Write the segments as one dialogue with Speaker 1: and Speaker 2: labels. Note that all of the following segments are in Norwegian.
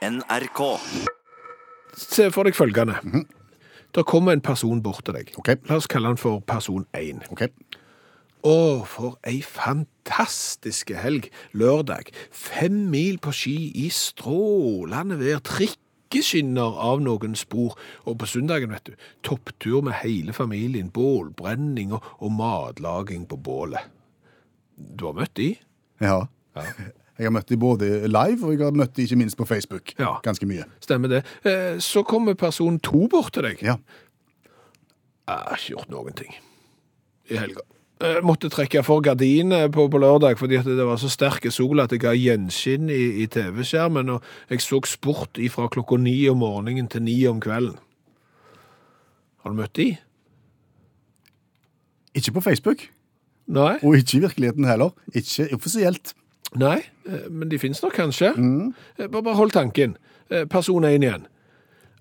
Speaker 1: NRK.
Speaker 2: Se for deg følgende. Der kommer en person bort til deg.
Speaker 3: Ok.
Speaker 2: La oss kalle han for person 1.
Speaker 3: OK.
Speaker 2: Å, for ei fantastiske helg. Lørdag. Fem mil på ski i strålende vær. Trikkeskinner av noen spor. Og på søndagen, vet du, topptur med hele familien. Bålbrenning og, og matlaging på bålet. Du har møtt de?
Speaker 3: Ja. Jeg har møtt dem både live, og jeg har møtt dem ikke minst på Facebook.
Speaker 2: Ja.
Speaker 3: Ganske mye.
Speaker 2: Stemmer det. Eh, Så kommer person to bort til deg.
Speaker 3: Ja.
Speaker 2: Jeg har ikke gjort noen ting i helga. Jeg måtte trekke for gardinene på, på lørdag fordi at det var så sterk sol at det ga gjenskinn i, i TV-skjermen, og jeg så sport fra klokka ni om morgenen til ni om kvelden. Har du møtt de?
Speaker 3: Ikke på Facebook,
Speaker 2: Nei?
Speaker 3: og ikke i virkeligheten heller. Ikke offisielt.
Speaker 2: Nei, eh, men de finnes nok kanskje. Eh, Bare, bare hold tanken. Eh, Person 1 igjen.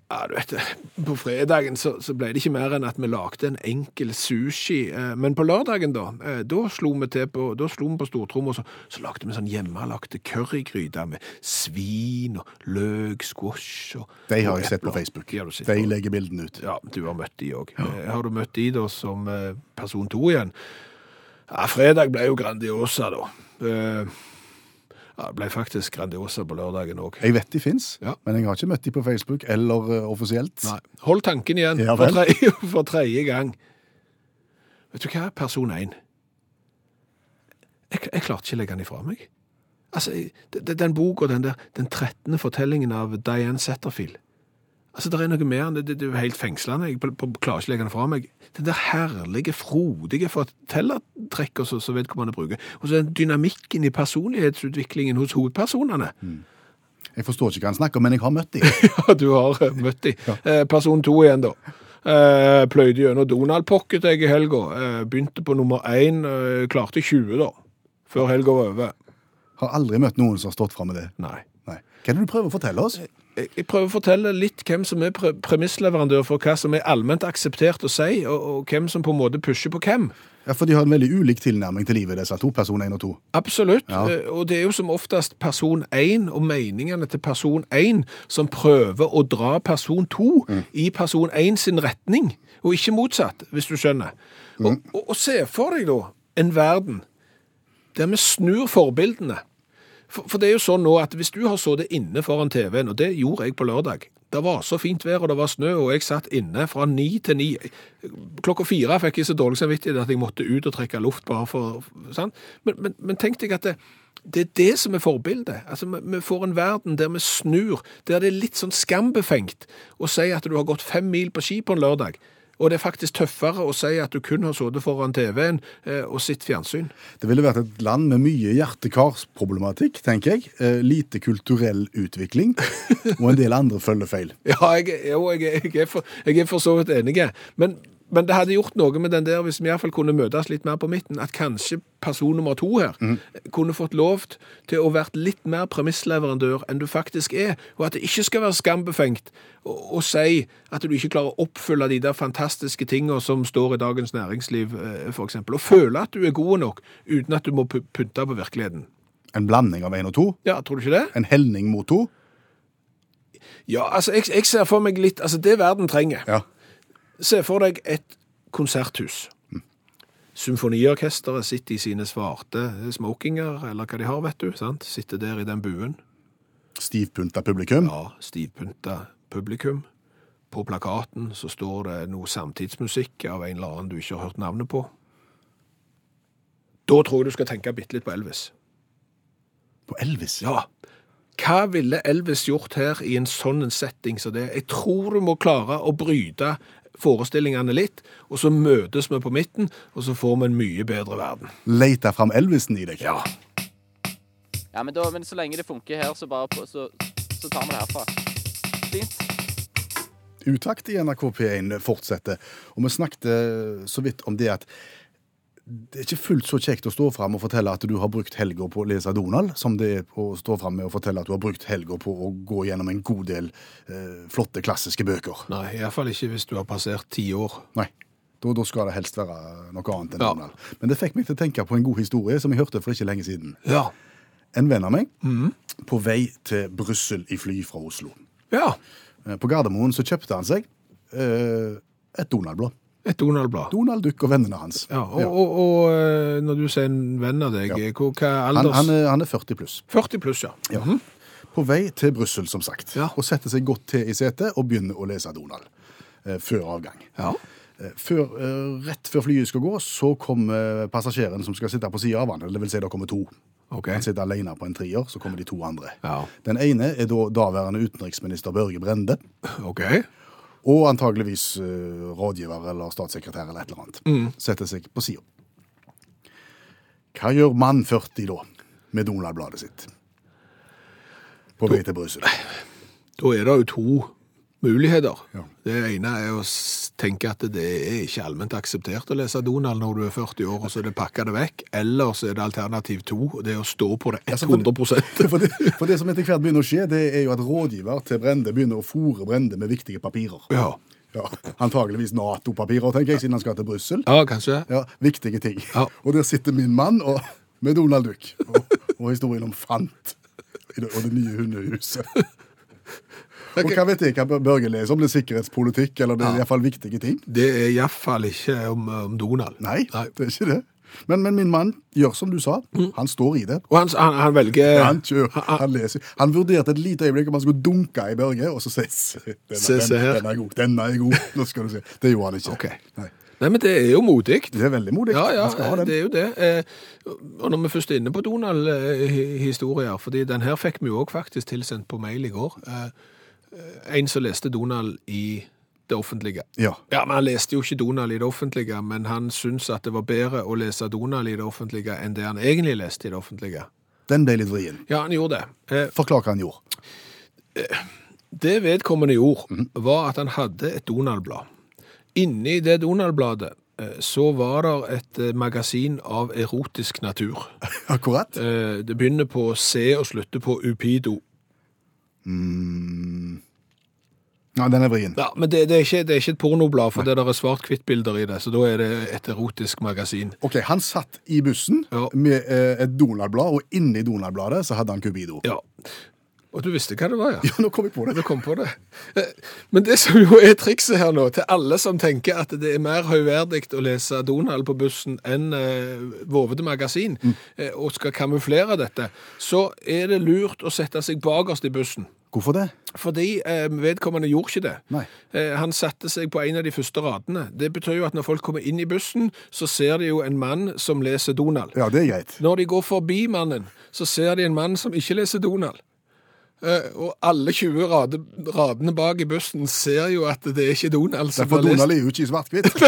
Speaker 2: Ja, du vet, det, på fredagen så, så ble det ikke mer enn at vi lagde en enkel sushi. eh, Men på lørdagen da, eh, da slo vi til på, da slo vi på stortrommet, og så, så lagde vi sånn hjemmelagte currygryter med svin og løk, squash og
Speaker 3: De har
Speaker 2: og
Speaker 3: jeg sett på
Speaker 2: epler.
Speaker 3: Facebook.
Speaker 2: De har du sett
Speaker 3: De
Speaker 2: på.
Speaker 3: legger bildene ut.
Speaker 2: Ja, du har møtt de òg. Har du møtt de da som eh, person to igjen? Ja, fredag ble jo Grandiosa, da. Eh, Ja, det ble faktisk Grandiosa på lørdagen òg.
Speaker 3: Jeg vet de fins,
Speaker 2: Ja.
Speaker 3: men jeg har ikke møtt dem på Facebook eller eh, offisielt.
Speaker 2: Nei. Hold tanken igjen
Speaker 3: Ja
Speaker 2: for,
Speaker 3: vel.
Speaker 2: tredje, for tredje gang. Vet du hva, person én jeg, jeg klarte ikke å legge den ifra meg. Altså, jeg- d- d- Den boka, den der, den 13. fortellingen av Diane Setterfield Altså, Det er noe mer enn det. Det det er jo helt fengslende. Jeg pl- pl- klarer ikke å legge den fra meg. Den der herlige, frodige fortellertrekket som som vedkommende bruker. Og så den dynamikken i personlighetsutviklingen hos hovedpersonene.
Speaker 3: Jeg forstår ikke hva han snakker om, men jeg har møtt dem.
Speaker 2: Ja, du har eh, møtt de. Eh, Person to igjen, da. Eh, Pløyde gjennom Donald Pocket jeg i helga. Eh, Begynte på nummer én, eh, klarte 20, da. Før helga var over.
Speaker 3: Har aldri møtt noen som har stått fram med det.
Speaker 2: Nei.
Speaker 3: Nei. Hva er det du prøver å fortelle oss?
Speaker 2: Jeg jeg prøver å fortelle litt hvem som er pre premissleverandør for hva som er allment akseptert å si, og, og hvem som på en måte pusher på hvem.
Speaker 3: Ja, For de har en veldig ulik tilnærming til livet, disse to. Person 1 og 2.
Speaker 2: Absolutt,
Speaker 3: Ja.
Speaker 2: eh, og det er jo som oftest person 1 og meningene til person 1 som prøver å dra person 2 i person 1 sin retning, og ikke motsatt, hvis du skjønner. Og, og, og se for deg da en verden der vi snur forbildene. For, for det er jo sånn nå at hvis du har sittet inne foran TV-en, og det gjorde jeg på lørdag Det var så fint vær, og det var snø, og jeg satt inne fra ni til ni. Klokka fire fikk jeg så dårlig samvittighet at jeg måtte ut og trekke luft bare for sant? Men, men, men tenk deg at det, det er det som er forbildet. Altså, vi, vi får en verden der vi snur, der det er litt sånn skambefengt å si at du har gått fem mil på ski på en lørdag. Og det er faktisk tøffere å si at du kun har sittet foran TV-en eh, og sett fjernsyn.
Speaker 3: Det ville vært et land med mye hjertekarsproblematikk, tenker jeg. Eh, lite kulturell utvikling, og en del andre følgefeil.
Speaker 2: Ja, jeg, jo, jeg, jeg, er for, jeg er for så vidt enig. Men, men det hadde gjort noe med den der hvis vi iallfall kunne møtes litt mer på midten. At kanskje person nummer to her kunne fått lov til å vært litt mer premissleverandør enn du faktisk er. Og at det ikke skal være skambefengt å å si at du ikke klarer å oppfylle de der fantastiske tingene som står i Dagens Næringsliv, eh, for eksempel. Og føle at du er god nok uten at du må pu- pynte på virkeligheten.
Speaker 3: En blanding av én og to.
Speaker 2: Ja, tror du ikke det?
Speaker 3: En helning mot to.
Speaker 2: Ja, altså, jeg, jeg ser for meg litt Altså, det verden trenger.
Speaker 3: Ja.
Speaker 2: Se for deg et konserthus. Symfoniorkesteret sitter i sine svarte smokinger, eller hva de har, vet du. sant? Sitter der i den buen.
Speaker 3: Stivpynta publikum.
Speaker 2: Ja, stivpynta publikum. På plakaten så står det noe samtidsmusikk av en eller annen du ikke har hørt navnet på. Da tror jeg du skal tenke bitte litt på Elvis.
Speaker 3: På Elvis.
Speaker 2: Ja. Hva ville Elvis gjort her i en sånn en setting som det? Jeg tror du må klare å bryte forestillingene litt, og så møtes vi på midten, og så får vi en mye bedre verden.
Speaker 3: Leita fram Elvisen i deg.
Speaker 2: Ja.
Speaker 4: Ja, men, da, men så lenge det funker her, så bare på, så, så tar vi det herfra. Fint.
Speaker 3: Utakt i NRK P1 fortsetter. Og vi snakket eh, så vidt om det at det er ikke fullt så kjekt å stå fram og fortelle at du har brukt helga på å lese Donald, som det er å stå fram med og fortelle at du har brukt helga på å gå gjennom en god del eh, flotte, klassiske bøker.
Speaker 2: Nei, iallfall ikke hvis du har passert ti år.
Speaker 3: Nei. Da, da skal det helst være noe annet enn
Speaker 2: Ja.
Speaker 3: Donald. Men det fikk meg til å tenke på en god historie som jeg hørte for ikke lenge siden.
Speaker 2: Ja.
Speaker 3: en venn av meg
Speaker 2: Mhm.
Speaker 3: på vei til Brussel i fly fra Oslo.
Speaker 2: Ja.
Speaker 3: Eh, På Gardermoen så kjøpte han seg eh, et Donald-blad.
Speaker 2: Et Donald-blad.
Speaker 3: Donald Duck og vennene hans.
Speaker 2: Ja, og,
Speaker 3: Ja.
Speaker 2: og, og eh, når du sier en venn av deg,
Speaker 3: Ja.
Speaker 2: hvor- hva er
Speaker 3: Han,
Speaker 2: alders...
Speaker 3: han, er- han er 40 pluss.
Speaker 2: 40 pluss, ja.
Speaker 3: Ja. På vei til Brussel, som sagt.
Speaker 2: Mhm. Ja.
Speaker 3: Og setter seg godt til i setet og begynner å lese Donald eh, før avgang.
Speaker 2: Ja.
Speaker 3: Eh, Før, eh, rett før flyet skal gå, så kommer passasjeren som skal sitte på sida av han. Eller det vil si, det kommer to.
Speaker 2: Ok.
Speaker 3: Han sitter alene på en trier, så kommer de to andre.
Speaker 2: Ja.
Speaker 3: Den ene er da daværende utenriksminister Børge Brende.
Speaker 2: Ok.
Speaker 3: Og antageligvis eh, rådgiver eller statssekretær eller et eller annet.
Speaker 2: Mm.
Speaker 3: Setter seg på sida. Hva gjør mann 40 da med Donald-bladet sitt? På vei til Brussel.
Speaker 2: Da er det jo to muligheter.
Speaker 3: Ja.
Speaker 2: Det ene er å s- tenke at det er ikke allment akseptert å lese Donald når du er 40 år, og så er det pakka det vekk. Eller så er det alternativ to, og det er å stå på det 100
Speaker 3: For det, for det som etter hvert begynner å skje, det er jo at rådgiver til Brende begynner å fòre Brende med viktige papirer.
Speaker 2: Ja.
Speaker 3: Ja, antageligvis Nato-papirer, tenker jeg, siden han skal til Brussel.
Speaker 2: ja, kanskje.
Speaker 3: Ja, viktige ting.
Speaker 2: Ja.
Speaker 3: Og der sitter min mann og, med Donald Duck og, og historien om Fant i det- og det nye hundehuset. Og hva vet jeg hva Børge leser om? Det er sikkerhetspolitikk, eller det er i hvert fall viktige ting?
Speaker 2: Det er iallfall ikke om, om Donald.
Speaker 3: Nei, det er ikke det. Men, men min mann gjør som du sa.
Speaker 2: Mm.
Speaker 3: Han står i det.
Speaker 2: Og han, han, han velger
Speaker 3: Han kjører, han leser. Han vurderte et lite øyeblikk om han skulle dunke i Børge, og så sier se, denne,
Speaker 2: Se, se her.
Speaker 3: den, den er god, denne er god, nå skal du se. Det gjorde han ikke.
Speaker 2: Ok.
Speaker 3: Nei.
Speaker 2: Nei, men det er jo modig.
Speaker 3: Det er veldig modig.
Speaker 2: Ja,
Speaker 3: han skal
Speaker 2: ja,
Speaker 3: ha den.
Speaker 2: det er jo det. Eh, Og når vi først er inne på Donald-historier, fordi den her fikk vi jo også faktisk tilsendt på mail i går. Eh, En som leste Donald i det offentlige.
Speaker 3: Ja.
Speaker 2: Ja, men han leste jo ikke Donald i det offentlige, men han syntes at det var bedre å lese Donald i det offentlige enn det han egentlig leste i det offentlige.
Speaker 3: Den ble litt vrien.
Speaker 2: Ja, han gjorde det. Eh,
Speaker 3: Forklar hva han gjorde.
Speaker 2: Det vedkommende gjorde,
Speaker 3: Mhm.
Speaker 2: var at han hadde et Donald-blad. Inni det Donald-bladet eh, så var det et eh, magasin av erotisk natur.
Speaker 3: Akkurat.
Speaker 2: Eh, Det begynner på C og slutter på Upido.
Speaker 3: Mm. Ja, den er vrien.
Speaker 2: Ja, men det, det, er, ikke, det er ikke et pornoblad, for det der er svart-hvitt-bilder i det, så da er det et erotisk magasin.
Speaker 3: Ok, Han satt i bussen
Speaker 2: Ja.
Speaker 3: med eh, et Donald-blad, og inni Donald-bladet så hadde han Cubido.
Speaker 2: Ja. Og du visste hva det var, ja?
Speaker 3: Ja, nå kom jeg på det.
Speaker 2: Du kom på det. Eh, Men det som jo er trikset her nå, til alle som tenker at det er mer høyverdig å lese Donald på bussen enn eh, Vovede magasin, eh, og skal kamuflere dette, så er det lurt å sette seg bakerst i bussen.
Speaker 3: Hvorfor det?
Speaker 2: Fordi eh, vedkommende gjorde ikke det.
Speaker 3: Nei.
Speaker 2: Eh, han satte seg på en av de første radene. Det betyr jo at når folk kommer inn i bussen, så ser de jo en mann som leser Donald.
Speaker 3: Ja, det er greit.
Speaker 2: Når de går forbi mannen, så ser de en mann som ikke leser Donald. Eh, og alle 20 rade, radene bak i bussen ser jo at det er ikke Donald som
Speaker 3: For
Speaker 2: har lest.
Speaker 3: Donald er jo ikke i svart-hvitt.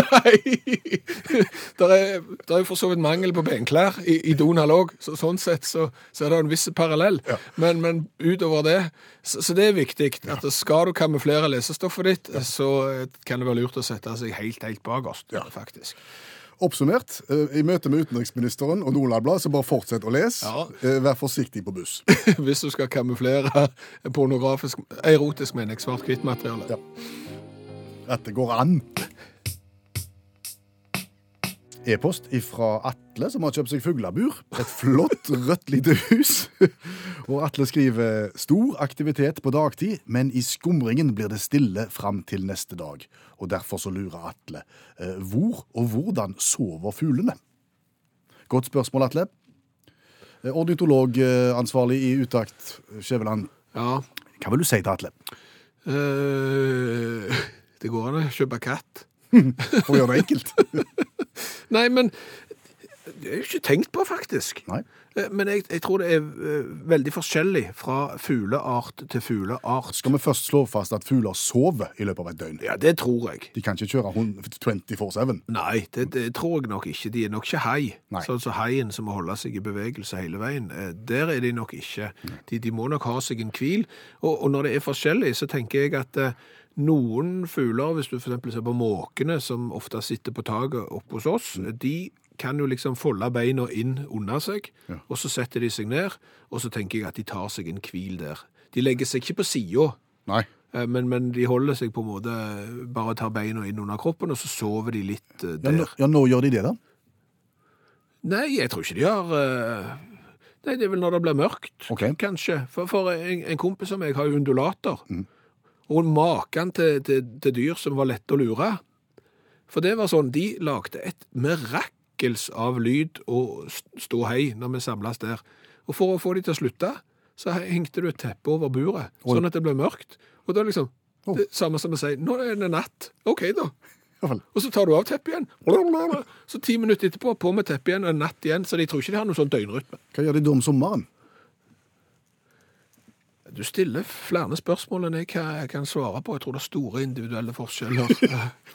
Speaker 2: Nei! Det er, der er jo for så vidt mangel på benklær i, i Donald òg, så sånn sett så, så er det en viss parallell. Men, men utover det Så, så det er viktig. at Skal du kamuflere lesestoffet ditt, så eh, kan det være lurt å sette seg helt, helt bakerst, faktisk.
Speaker 3: Oppsummert, eh, i møte med utenriksministeren og Donald-bladet, så bare fortsett å lese.
Speaker 2: Ja.
Speaker 3: Eh, Vær forsiktig på buss.
Speaker 2: Hvis du skal kamuflere pornografisk Erotisk, mener jeg. Svart-hvitt-materiale.
Speaker 3: Ja. at det går an. E-post fra Atle, som har kjøpt seg fuglebur. Et flott, rødt lite hus. Og Atle skriver stor aktivitet på dagtid, men i skumringen blir det stille fram til neste dag. Og derfor så lurer Atle. eh, Hvor og hvordan sover fuglene? Godt spørsmål, Atle. Eh, Ornitologansvarlig i Utakt, Skjæveland.
Speaker 2: Ja.
Speaker 3: Hva vil du si til Atle?
Speaker 2: Eh, det går an å kjøpe katt.
Speaker 3: For å gjøre det enkelt.
Speaker 2: Nei, men det er jo ikke tenkt på, faktisk.
Speaker 3: Nei.
Speaker 2: Eh, Men jeg, jeg tror det er eh, veldig forskjellig fra fugleart til fugleart.
Speaker 3: Skal vi først slå fast at fugler sover i løpet av et døgn?
Speaker 2: Ja, det tror jeg.
Speaker 3: De kan ikke kjøre hund 24-7.
Speaker 2: Nei, det, det tror jeg nok ikke. De er nok ikke hai.
Speaker 3: Nei.
Speaker 2: Sånn som haien som må holde seg i bevegelse hele veien. Eh, Der er de nok ikke. De, de må nok ha seg en hvil. Og, og når det er forskjellig, så tenker jeg at eh, noen fugler, hvis du for eksempel ser på måkene, som ofte sitter på taket oppe hos oss, de kan jo liksom folde beina inn under seg, og så setter de seg ned, og så tenker jeg at de tar seg en hvil der. De legger seg ikke på siden,
Speaker 3: Nei.
Speaker 2: Eh, Men, men de holder seg på en måte Bare tar beina inn under kroppen, og så sover de litt eh,
Speaker 3: Ja,
Speaker 2: der.
Speaker 3: når, ja, når gjør de det, da?
Speaker 2: Nei, jeg tror ikke de har eh, Nei, det er vel når det blir mørkt,
Speaker 3: Ok.
Speaker 2: kanskje. For, for en, en kompis som jeg har jo undulater.
Speaker 3: Mm.
Speaker 2: Og maken til, til, til dyr som var lett å lure. For det var sånn, de lagde et mirakels av lyd og st- ståhei når vi samles der. Og for å få de til å slutte, så hengte du et teppe over buret,
Speaker 3: Oi.
Speaker 2: sånn at det ble mørkt. Og da liksom,
Speaker 3: Oh.
Speaker 2: det samme som å si, nå er det natt. Ok da.
Speaker 3: Ja vel.
Speaker 2: Og så tar du av teppet igjen. Så ti minutter etterpå, på med teppet igjen og en natt igjen. Så de tror ikke de har noen sånn døgnrytme.
Speaker 3: Hva gjør de da om sommeren?
Speaker 2: Du stiller flere spørsmål enn jeg kan- kan svare på. Jeg tror det er store individuelle forskjeller.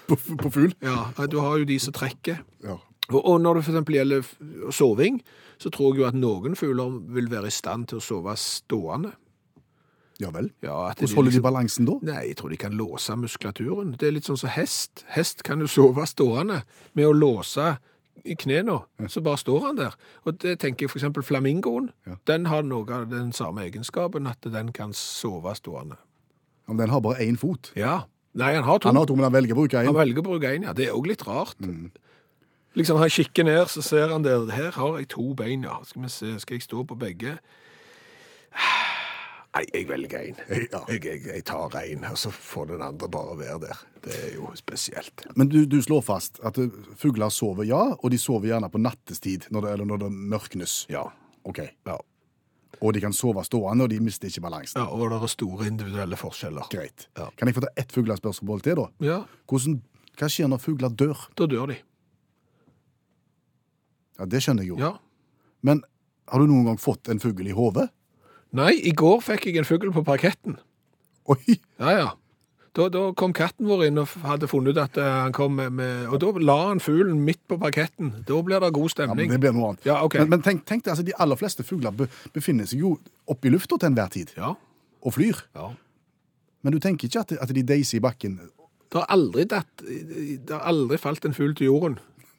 Speaker 3: På, f- på fugl?
Speaker 2: Ja, Du har jo de som trekker.
Speaker 3: Ja.
Speaker 2: Og- Og når det for eksempel gjelder f- soving, så tror jeg jo at noen fugler vil være i stand til å sove stående.
Speaker 3: ja vel.
Speaker 2: Ja, at
Speaker 3: Hvordan holder de
Speaker 2: liksom-
Speaker 3: balansen da?
Speaker 2: Nei, jeg tror de kan låse muskulaturen. Det er litt sånn som hest. Hest kan jo sove stående med å låse i knena, så bare står han der. Og det tenker jeg for eksempel flamingoen.
Speaker 3: Ja.
Speaker 2: Den har noe av den samme egenskapen, at den kan sove stående.
Speaker 3: Ja, men den har bare én fot.
Speaker 2: Ja. Nei, han har to.
Speaker 3: Han har to, men han velger å bruke
Speaker 2: Han
Speaker 3: én.
Speaker 2: velger å bruke én, ja. Det er òg litt rart. Liksom Han kikker ned, så ser han der. Her har jeg to bein, ja. Skal vi se, skal jeg stå på begge? Nei, jeg velger én.
Speaker 3: Ja.
Speaker 2: Jeg, jeg, jeg tar én, og så får den andre bare være der. Det er jo spesielt.
Speaker 3: Men du, du slår fast at eh, fugler sover, ja, og de sover gjerne på nattestid, når det, eller når det mørknes.
Speaker 2: Ja.
Speaker 3: Ok.
Speaker 2: ja.
Speaker 3: Og de kan sove stående, og de mister ikke balansen.
Speaker 2: ja og det er store individuelle forskjeller.
Speaker 3: Greit.
Speaker 2: Ja.
Speaker 3: Kan jeg få ta ett fuglespørsmål til, da?
Speaker 2: Ja,
Speaker 3: Hvordan, hva skjer når fugler dør?
Speaker 2: da dør de.
Speaker 3: Ja, Det skjønner jeg jo.
Speaker 2: Ja.
Speaker 3: Men har du noen gang fått en fugl i hodet?
Speaker 2: Nei, i går fikk jeg en fugl på parketten.
Speaker 3: Oi!
Speaker 2: Ja, ja. Da, da kom katten vår inn og f- hadde funnet ut at eh, han kom med, med Og da la han fuglen midt på parketten. Da blir det god
Speaker 3: Ja, men
Speaker 2: stemning.
Speaker 3: det blir noe annet.
Speaker 2: Ja, ok.
Speaker 3: Men, men tenk, tenk deg, altså, de aller fleste fugler be, befinner seg jo oppe i lufta til enhver tid,
Speaker 2: Ja,
Speaker 3: og flyr.
Speaker 2: ja.
Speaker 3: Men du tenker ikke at, at de deiser i bakken?
Speaker 2: Det har aldri, datt, det har aldri falt en fugl til jorden,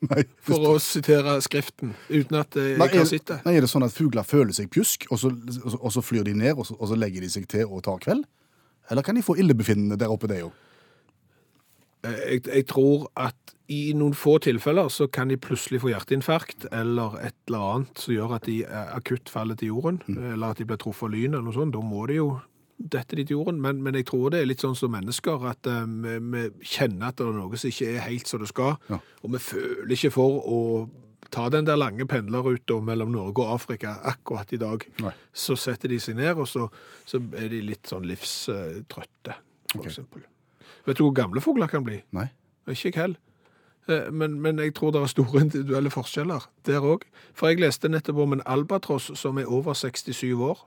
Speaker 3: Nei,
Speaker 2: for å sitere Skriften, uten at eh,
Speaker 3: Nei,
Speaker 2: jeg
Speaker 3: er,
Speaker 2: har sett det.
Speaker 3: nei, er det sånn at fugler føler seg pjusk, og så, og så, og så flyr de ned, og så, og så legger de seg til og tar kveld? Eller kan de få illebefinnende der oppe, det jo?
Speaker 2: Eh, Jeg, jeg tror at i noen få tilfeller så kan de plutselig få hjerteinfarkt eller et eller annet som gjør at de eh, akutt faller til jorden,
Speaker 3: Mm.
Speaker 2: eh, eller at de blir truffet av lyn eller noe sånt. Da må de jo dette de til jorden. Men, men jeg tror det er litt sånn som mennesker, at eh, vi, vi kjenner at det er noe som ikke er helt som det skal,
Speaker 3: Ja.
Speaker 2: og vi føler ikke for å ta den der lange pendlerruta mellom Norge og Afrika akkurat i dag.
Speaker 3: Nei.
Speaker 2: Så setter de seg ned, og så, så er de litt sånn livstrøtte, for
Speaker 3: Ok.
Speaker 2: eksempel. Vet du hvor gamle fugler kan bli?
Speaker 3: Nei.
Speaker 2: Ikke jeg heller. Eh, Men, men jeg tror det er store individuelle forskjeller der òg. For jeg leste nettopp om en albatross som er over 67 år.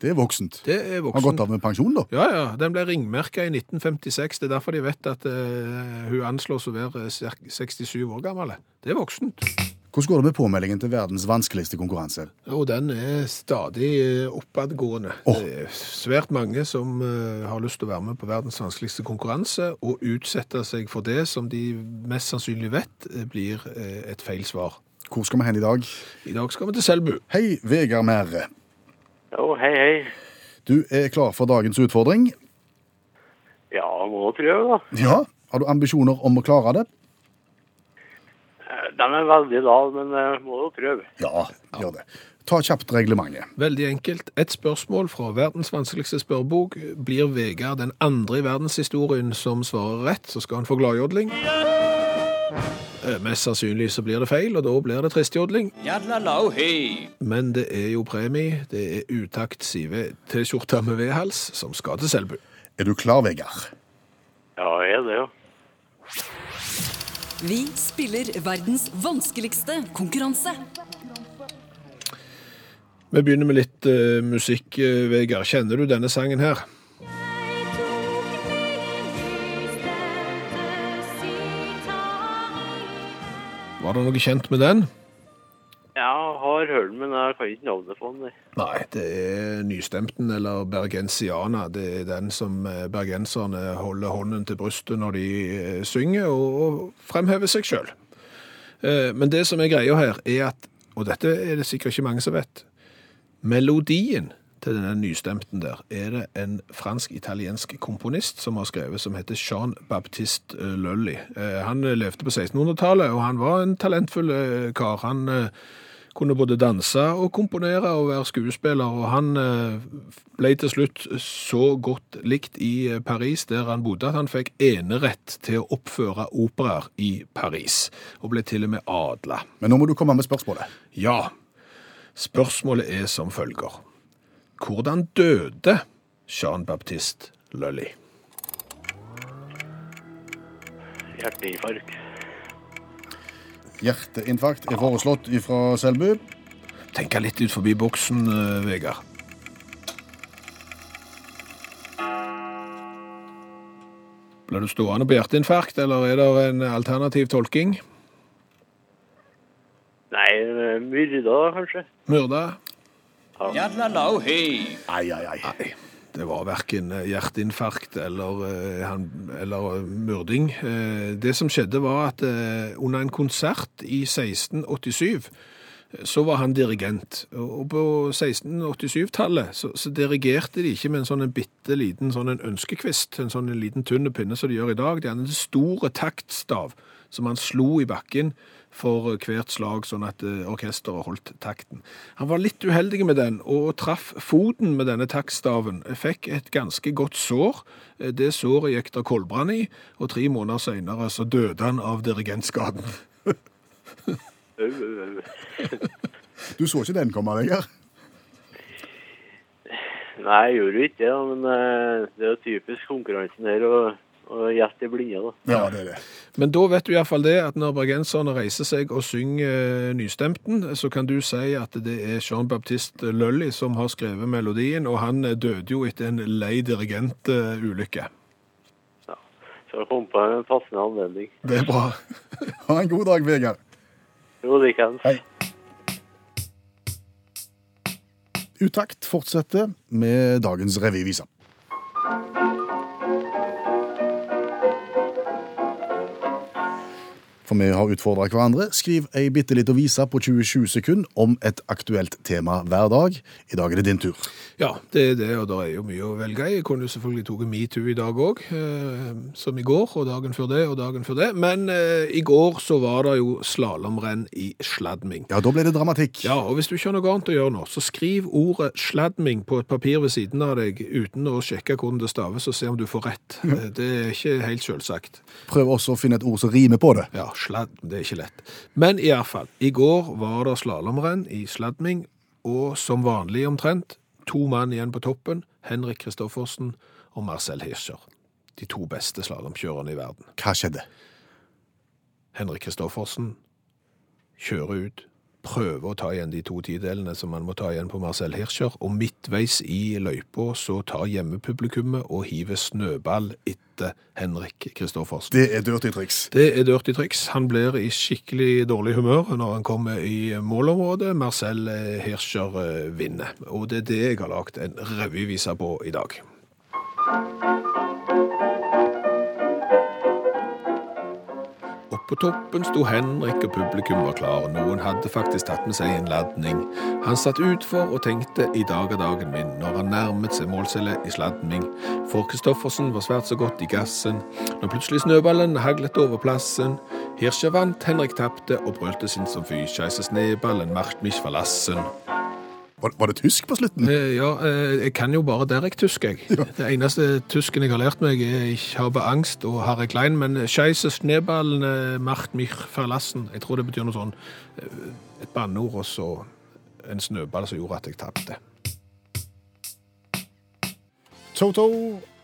Speaker 3: Det er voksent.
Speaker 2: Det er
Speaker 3: Har gått
Speaker 2: voksen.
Speaker 3: av med pensjon, da?
Speaker 2: Ja, ja. Den ble ringmerka i 1956. Det er derfor de vet at eh, hun anslås å være cirka 67 år gammel. Det er voksent.
Speaker 3: Hvordan går det med påmeldingen til verdens vanskeligste konkurranse?
Speaker 2: Og den er stadig eh, oppadgående.
Speaker 3: Åh.
Speaker 2: Det er svært mange som eh, har lyst til å være med på verdens vanskeligste konkurranse, og utsette seg for det som de mest sannsynlig vet eh, blir eh, et feil svar.
Speaker 3: Hvor skal vi hen i dag?
Speaker 2: I dag skal vi til Selbu.
Speaker 3: Hei, Vegard Mære.
Speaker 1: Jo, hei, hei.
Speaker 3: Du er klar for dagens utfordring.
Speaker 1: Ja, må prøve, da.
Speaker 3: Ja. Har du ambisjoner om å klare det?
Speaker 1: Eh, Den er veldig lav, men eh, må jo prøve.
Speaker 3: Ja, gjør det. Ta kjapt reglementet.
Speaker 2: Veldig enkelt. Et spørsmål fra verdens vanskeligste spørrebok. Blir Vegard den andre i verdenshistorien som svarer rett, så skal han få gladjodling. Eh, Mest sannsynlig så blir det feil, og da blir det tristjodling.
Speaker 4: Jadlalau, hei.
Speaker 2: Men det er jo premie. Det er utakt sive T-skjorte med vedhals som skal til Selbu.
Speaker 3: Er du klar, Vegard?
Speaker 1: Ja, jeg er det, jo.
Speaker 5: Vi spiller verdens vanskeligste konkurranse.
Speaker 2: Vi begynner med litt eh, musikk, eh, Vegard. Kjenner du denne sangen her? Var det noe kjent med den?
Speaker 1: Ja, har hørt den, men jeg kan ikke navnet på den. jeg.
Speaker 2: Nei, det er Nystemten eller Bergensiana. Det er den som eh, bergenserne holder hånden til brystet når de eh, synger og, og fremhever seg sjøl. Men det som er greia her, er at Og dette er det sikkert ikke mange som vet. Melodien til denne nystemten der er det en fransk-italiensk komponist som har skrevet, som heter Jean-Baptiste eh, Lully. Eh, Han eh, levde på 1600-tallet, og han var en talentfull eh, kar. Han eh, Kunne både danse og komponere og være skuespiller, og han eh, ble til slutt så godt likt i eh, Paris, der han bodde, at han fikk enerett til å oppføre operaer i Paris, og ble til og med adla.
Speaker 3: Men nå må du komme med spørsmålet.
Speaker 2: Ja, spørsmålet er som følger. Hvordan døde Jean-Baptiste Lully?
Speaker 1: Hjerteinfarkt.
Speaker 3: Hjerteinfarkt er foreslått fra Selbu.
Speaker 2: Tenke litt ut forbi boksen, eh, Vegard. Ble du stående på hjerteinfarkt, eller er det en alternativ tolking?
Speaker 1: Nei, eh, myrda, kanskje.
Speaker 2: Myrda?
Speaker 3: Ai, ai, ai.
Speaker 2: Nei, det var verken hjerteinfarkt eller, eh, han- eller eh, myrding. Eh, Det som skjedde var at eh, under en konsert i 1687, eh, så var han dirigent. Og og på 1687-tallet så, så dirigerte de ikke med en sånn en bitte liten sånn en ønskekvist, en sånn en liten tynne pinne som de gjør i dag. De hadde en store taktstav som han slo i bakken for hvert slag, sånn at eh, orkesteret holdt takten. Han var litt uheldig med den, og traff foten med denne taktstaven. Fikk et ganske godt sår. Eh, Det såret gikk der koldbrann i, og tre måneder senere så døde han av dirigentskaden.
Speaker 1: Au, au, au.
Speaker 3: Du så ikke den komme, Vegard?
Speaker 1: Nei, jeg gjorde jo ikke det, da, men eh, det er jo typisk konkurransen her å å gjette i blinde, da.
Speaker 3: Ja, det er det.
Speaker 2: Men da vet du iallfall det at når bergenserne reiser seg og synger eh, nystemten, så kan du si at det er Jean-Baptiste Lully som har skrevet melodien, og han eh, døde jo etter en lei eh, dirigentulykke.
Speaker 1: Så jeg kom på en passende anledning.
Speaker 2: Det er bra.
Speaker 3: Ha en god dag, Vegard.
Speaker 1: Jo, det kan.
Speaker 3: Utakt fortsetter med dagens revyvise. For vi har utfordra hverandre. Skriv ei bitte lita vise på 27 sekunder om et aktuelt tema hver dag. I dag er det din tur.
Speaker 2: Ja, det er det, og det er jo mye å velge i. Jeg kunne jo selvfølgelig tatt metoo i dag òg, eh, som i går, og dagen før det, og dagen før det. Men eh, i går så var det jo slalåmrenn i Sladming.
Speaker 3: Ja, da ble det dramatikk.
Speaker 2: Ja, og hvis du ikke har noe annet å gjøre nå, så skriv ordet sladming på et papir ved siden av deg, uten å sjekke hvordan det staves, og se om du får rett. Eh, Det er ikke helt selvsagt.
Speaker 3: Prøv også å finne et ord som rimer på det.
Speaker 2: Ja, sladd, det er ikke lett. Men i hvert fall, i går var det slalomrenn i sladming, og som vanlig omtrent, to mann igjen på toppen, Henrik Kristoffersen og Marcel Hirscher. De to beste slalomkjørerne i verden.
Speaker 3: Hva skjedde?
Speaker 2: Henrik Kristoffersen kjører ut, prøver å ta igjen de to tidelene som han må ta igjen på Marcel Hirscher, og midtveis i løypa så tar hjemmepublikummet og hiver snøball etter Henrik Kristoffersen.
Speaker 3: Det er dirty triks.
Speaker 2: Det er dirty triks. Han blir i skikkelig dårlig humør når han kommer i målområdet. Marcel Hirscher eh, vinner. Og det er det jeg har lagt en revyvise på i dag. Opp på toppen sto Henrik, og publikum var klar. Noen hadde faktisk tatt med seg en ladning. Han satt utfor og tenkte i dag er dagen min, når han nærmet seg målcellet i sladming. For Kristoffersen var svært så godt i gassen, når plutselig snøballen haglet over plassen. Hirscher vant, Henrik tapte og brølte sin som fy. Scheisse sneballen macht mich verlassen.
Speaker 3: Var, var det tysk på slutten?
Speaker 2: Eh, ja, eh, jeg kan jo bare Derek-tysk, jeg. Det eneste tysken jeg har lært meg, er Ich habe angst og Harry Klein, men Scheisse Schneeballen eh, macht mich verlassen. Jeg tror det betyr noe sånn eh, et banneord og så en snøball som gjorde at jeg tapte.
Speaker 3: Toto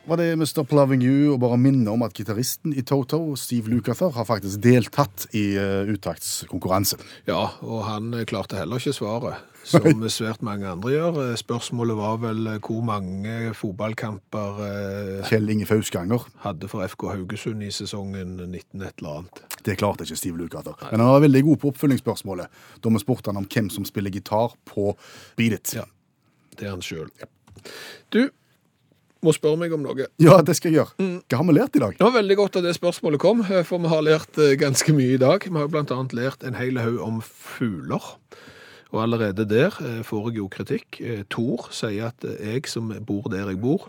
Speaker 3: var det Mr. Ploving You, og bare minne om at gitaristen i Toto, Steve Lukather, har faktisk deltatt i uh, utaktskonkurransen.
Speaker 2: Ja, og han eh, klarte heller ikke svaret, som svært mange andre gjør. Eh, Spørsmålet var vel eh, hvor mange fotballkamper eh,
Speaker 3: Kjell Inge Fausganger.
Speaker 2: hadde for FK Haugesund i sesongen 19 et eller annet.
Speaker 3: Det klarte ikke Steve Lukather. Men han var veldig god på oppfølgingsspørsmålet da vi spurte han om hvem som spiller gitar på Beat It.
Speaker 2: Ja. Det er han sjøl. Du må spørre meg om noe.
Speaker 3: Ja, det skal jeg gjøre. Hva har vi lært i dag?
Speaker 2: Det var veldig godt at det spørsmålet kom, for vi har lært eh, ganske mye i dag. Vi har bl.a. lært en hel haug om fugler. Og allerede der eh, får jeg jo kritikk. Eh, Tor sier at eh, jeg som bor der jeg bor,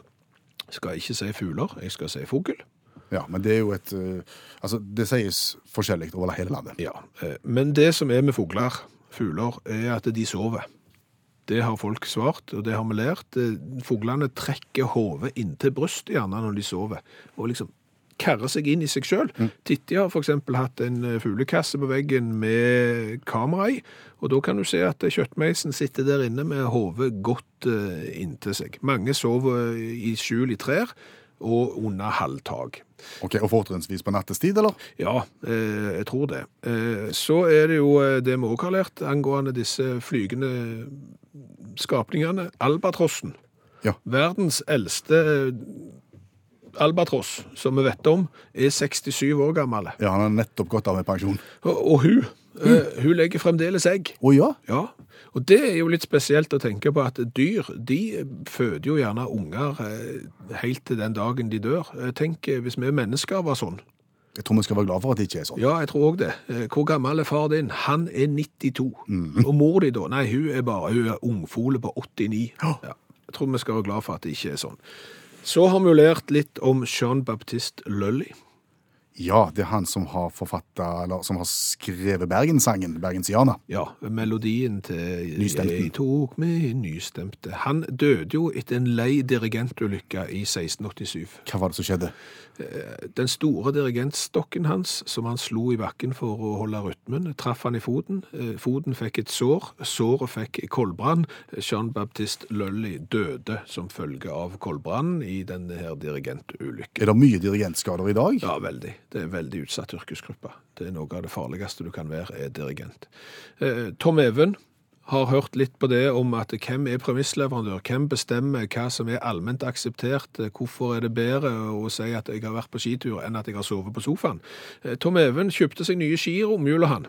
Speaker 2: skal ikke si fugler, jeg skal si fugl.
Speaker 3: Ja, men det er jo et eh, Altså, det sies forskjellig over hele landet.
Speaker 2: Ja, eh, Men det som er med fugler, fugler er at de sover. Det har folk svart, og det har vi lært. Eh, Fuglene trekker hodet inntil brystet gjerne når de sover, og liksom karrer seg inn i seg sjøl. Titti har f.eks. hatt en eh, fuglekasse på veggen med kamera i, og da kan du se at eh, kjøttmeisen sitter der inne med hodet godt eh, inntil seg. Mange sover i skjul i trær og under halvtak.
Speaker 3: Ok, Og fortrinnsvis på nattestid, eller?
Speaker 2: Ja, eh, jeg tror det. Eh, så er det jo eh, det vi også har lært angående disse flygende skapningene. Albatrossen.
Speaker 3: Ja.
Speaker 2: Verdens eldste eh, albatross, som vi vet om, er 67 år gammel.
Speaker 3: Ja, han har nettopp gått av med pensjon.
Speaker 2: Og, og hun, eh, hun legger fremdeles egg.
Speaker 3: Å ja?
Speaker 2: Ja, og det er jo litt spesielt å tenke på at dyr, de føder jo gjerne unger eh, helt til den dagen de dør. Eh, Tenk eh, hvis vi mennesker var sånn.
Speaker 3: Jeg tror vi skal være glad for at det ikke er sånn.
Speaker 2: Ja, jeg tror òg det. Eh, Hvor gammel er far din? Han er 92. Og mor di, da? Nei, hun er bare hun er ungfole på 89. Ja. Jeg tror vi skal være glad for at det ikke er sånn. Så har vi jo lært litt om Jean-Baptiste Lully.
Speaker 3: Ja, det er han som har forfatta, eller som har skrevet Bergenssangen, Bergensiana.
Speaker 2: Ja, melodien til eh,
Speaker 3: Nystemten.
Speaker 2: Jeg tok med nystemte. Han døde jo etter en lei dirigentulykke i 1687.
Speaker 3: Hva var det som skjedde?
Speaker 2: Den store dirigentstokken hans, som han slo i bakken for å holde rytmen, traff han i foten. Eh, Foten fikk et sår, såret fikk koldbrann. Jean-Baptiste Lully døde som følge av koldbrannen i denne her dirigentulykken.
Speaker 3: Er det mye dirigentskader i dag?
Speaker 2: Ja, veldig. Det er en veldig utsatt yrkesgruppe. Det er noe av det farligste du kan være, er dirigent. Eh, Tom Even har hørt litt på det om at hvem er premissleverandør, hvem bestemmer hva som er allment akseptert, Eh, hvorfor er det bedre å si at jeg har vært på skitur enn at jeg har sovet på sofaen. Eh, Tom Even kjøpte seg nye ski i romjula, han.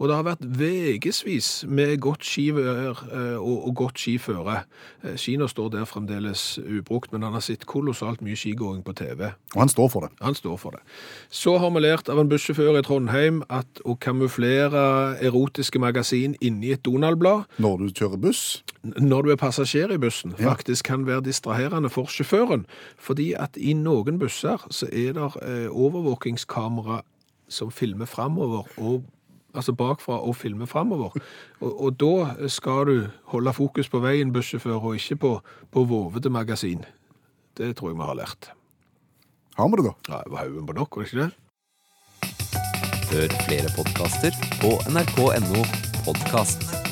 Speaker 2: Og det har vært vegesvis med godt skivær eh, og, og godt skiføre. Eh, Skiene står der fremdeles ubrukt, men han har sett kolossalt mye skigåing på TV.
Speaker 3: Og han står for det.
Speaker 2: Han står for det. Så har vi lært av en bussjåfør i Trondheim at å kamuflere erotiske magasin inni et Donald-blad
Speaker 3: Når du kjører buss,
Speaker 2: n- når du er passasjer i bussen, faktisk kan være distraherende for sjåføren. Fordi at i noen busser så er det eh, overvåkingskamera som filmer framover, og, altså bakfra og filmer framover. Og, og da skal du holde fokus på veien, bussjåfør, og ikke på, på vovete magasin. Det tror jeg vi har lært.
Speaker 3: har vi det da?
Speaker 2: Ja, det var haugen på nok, var det ikke det?
Speaker 6: Hør flere podkaster på nrk.no podkast.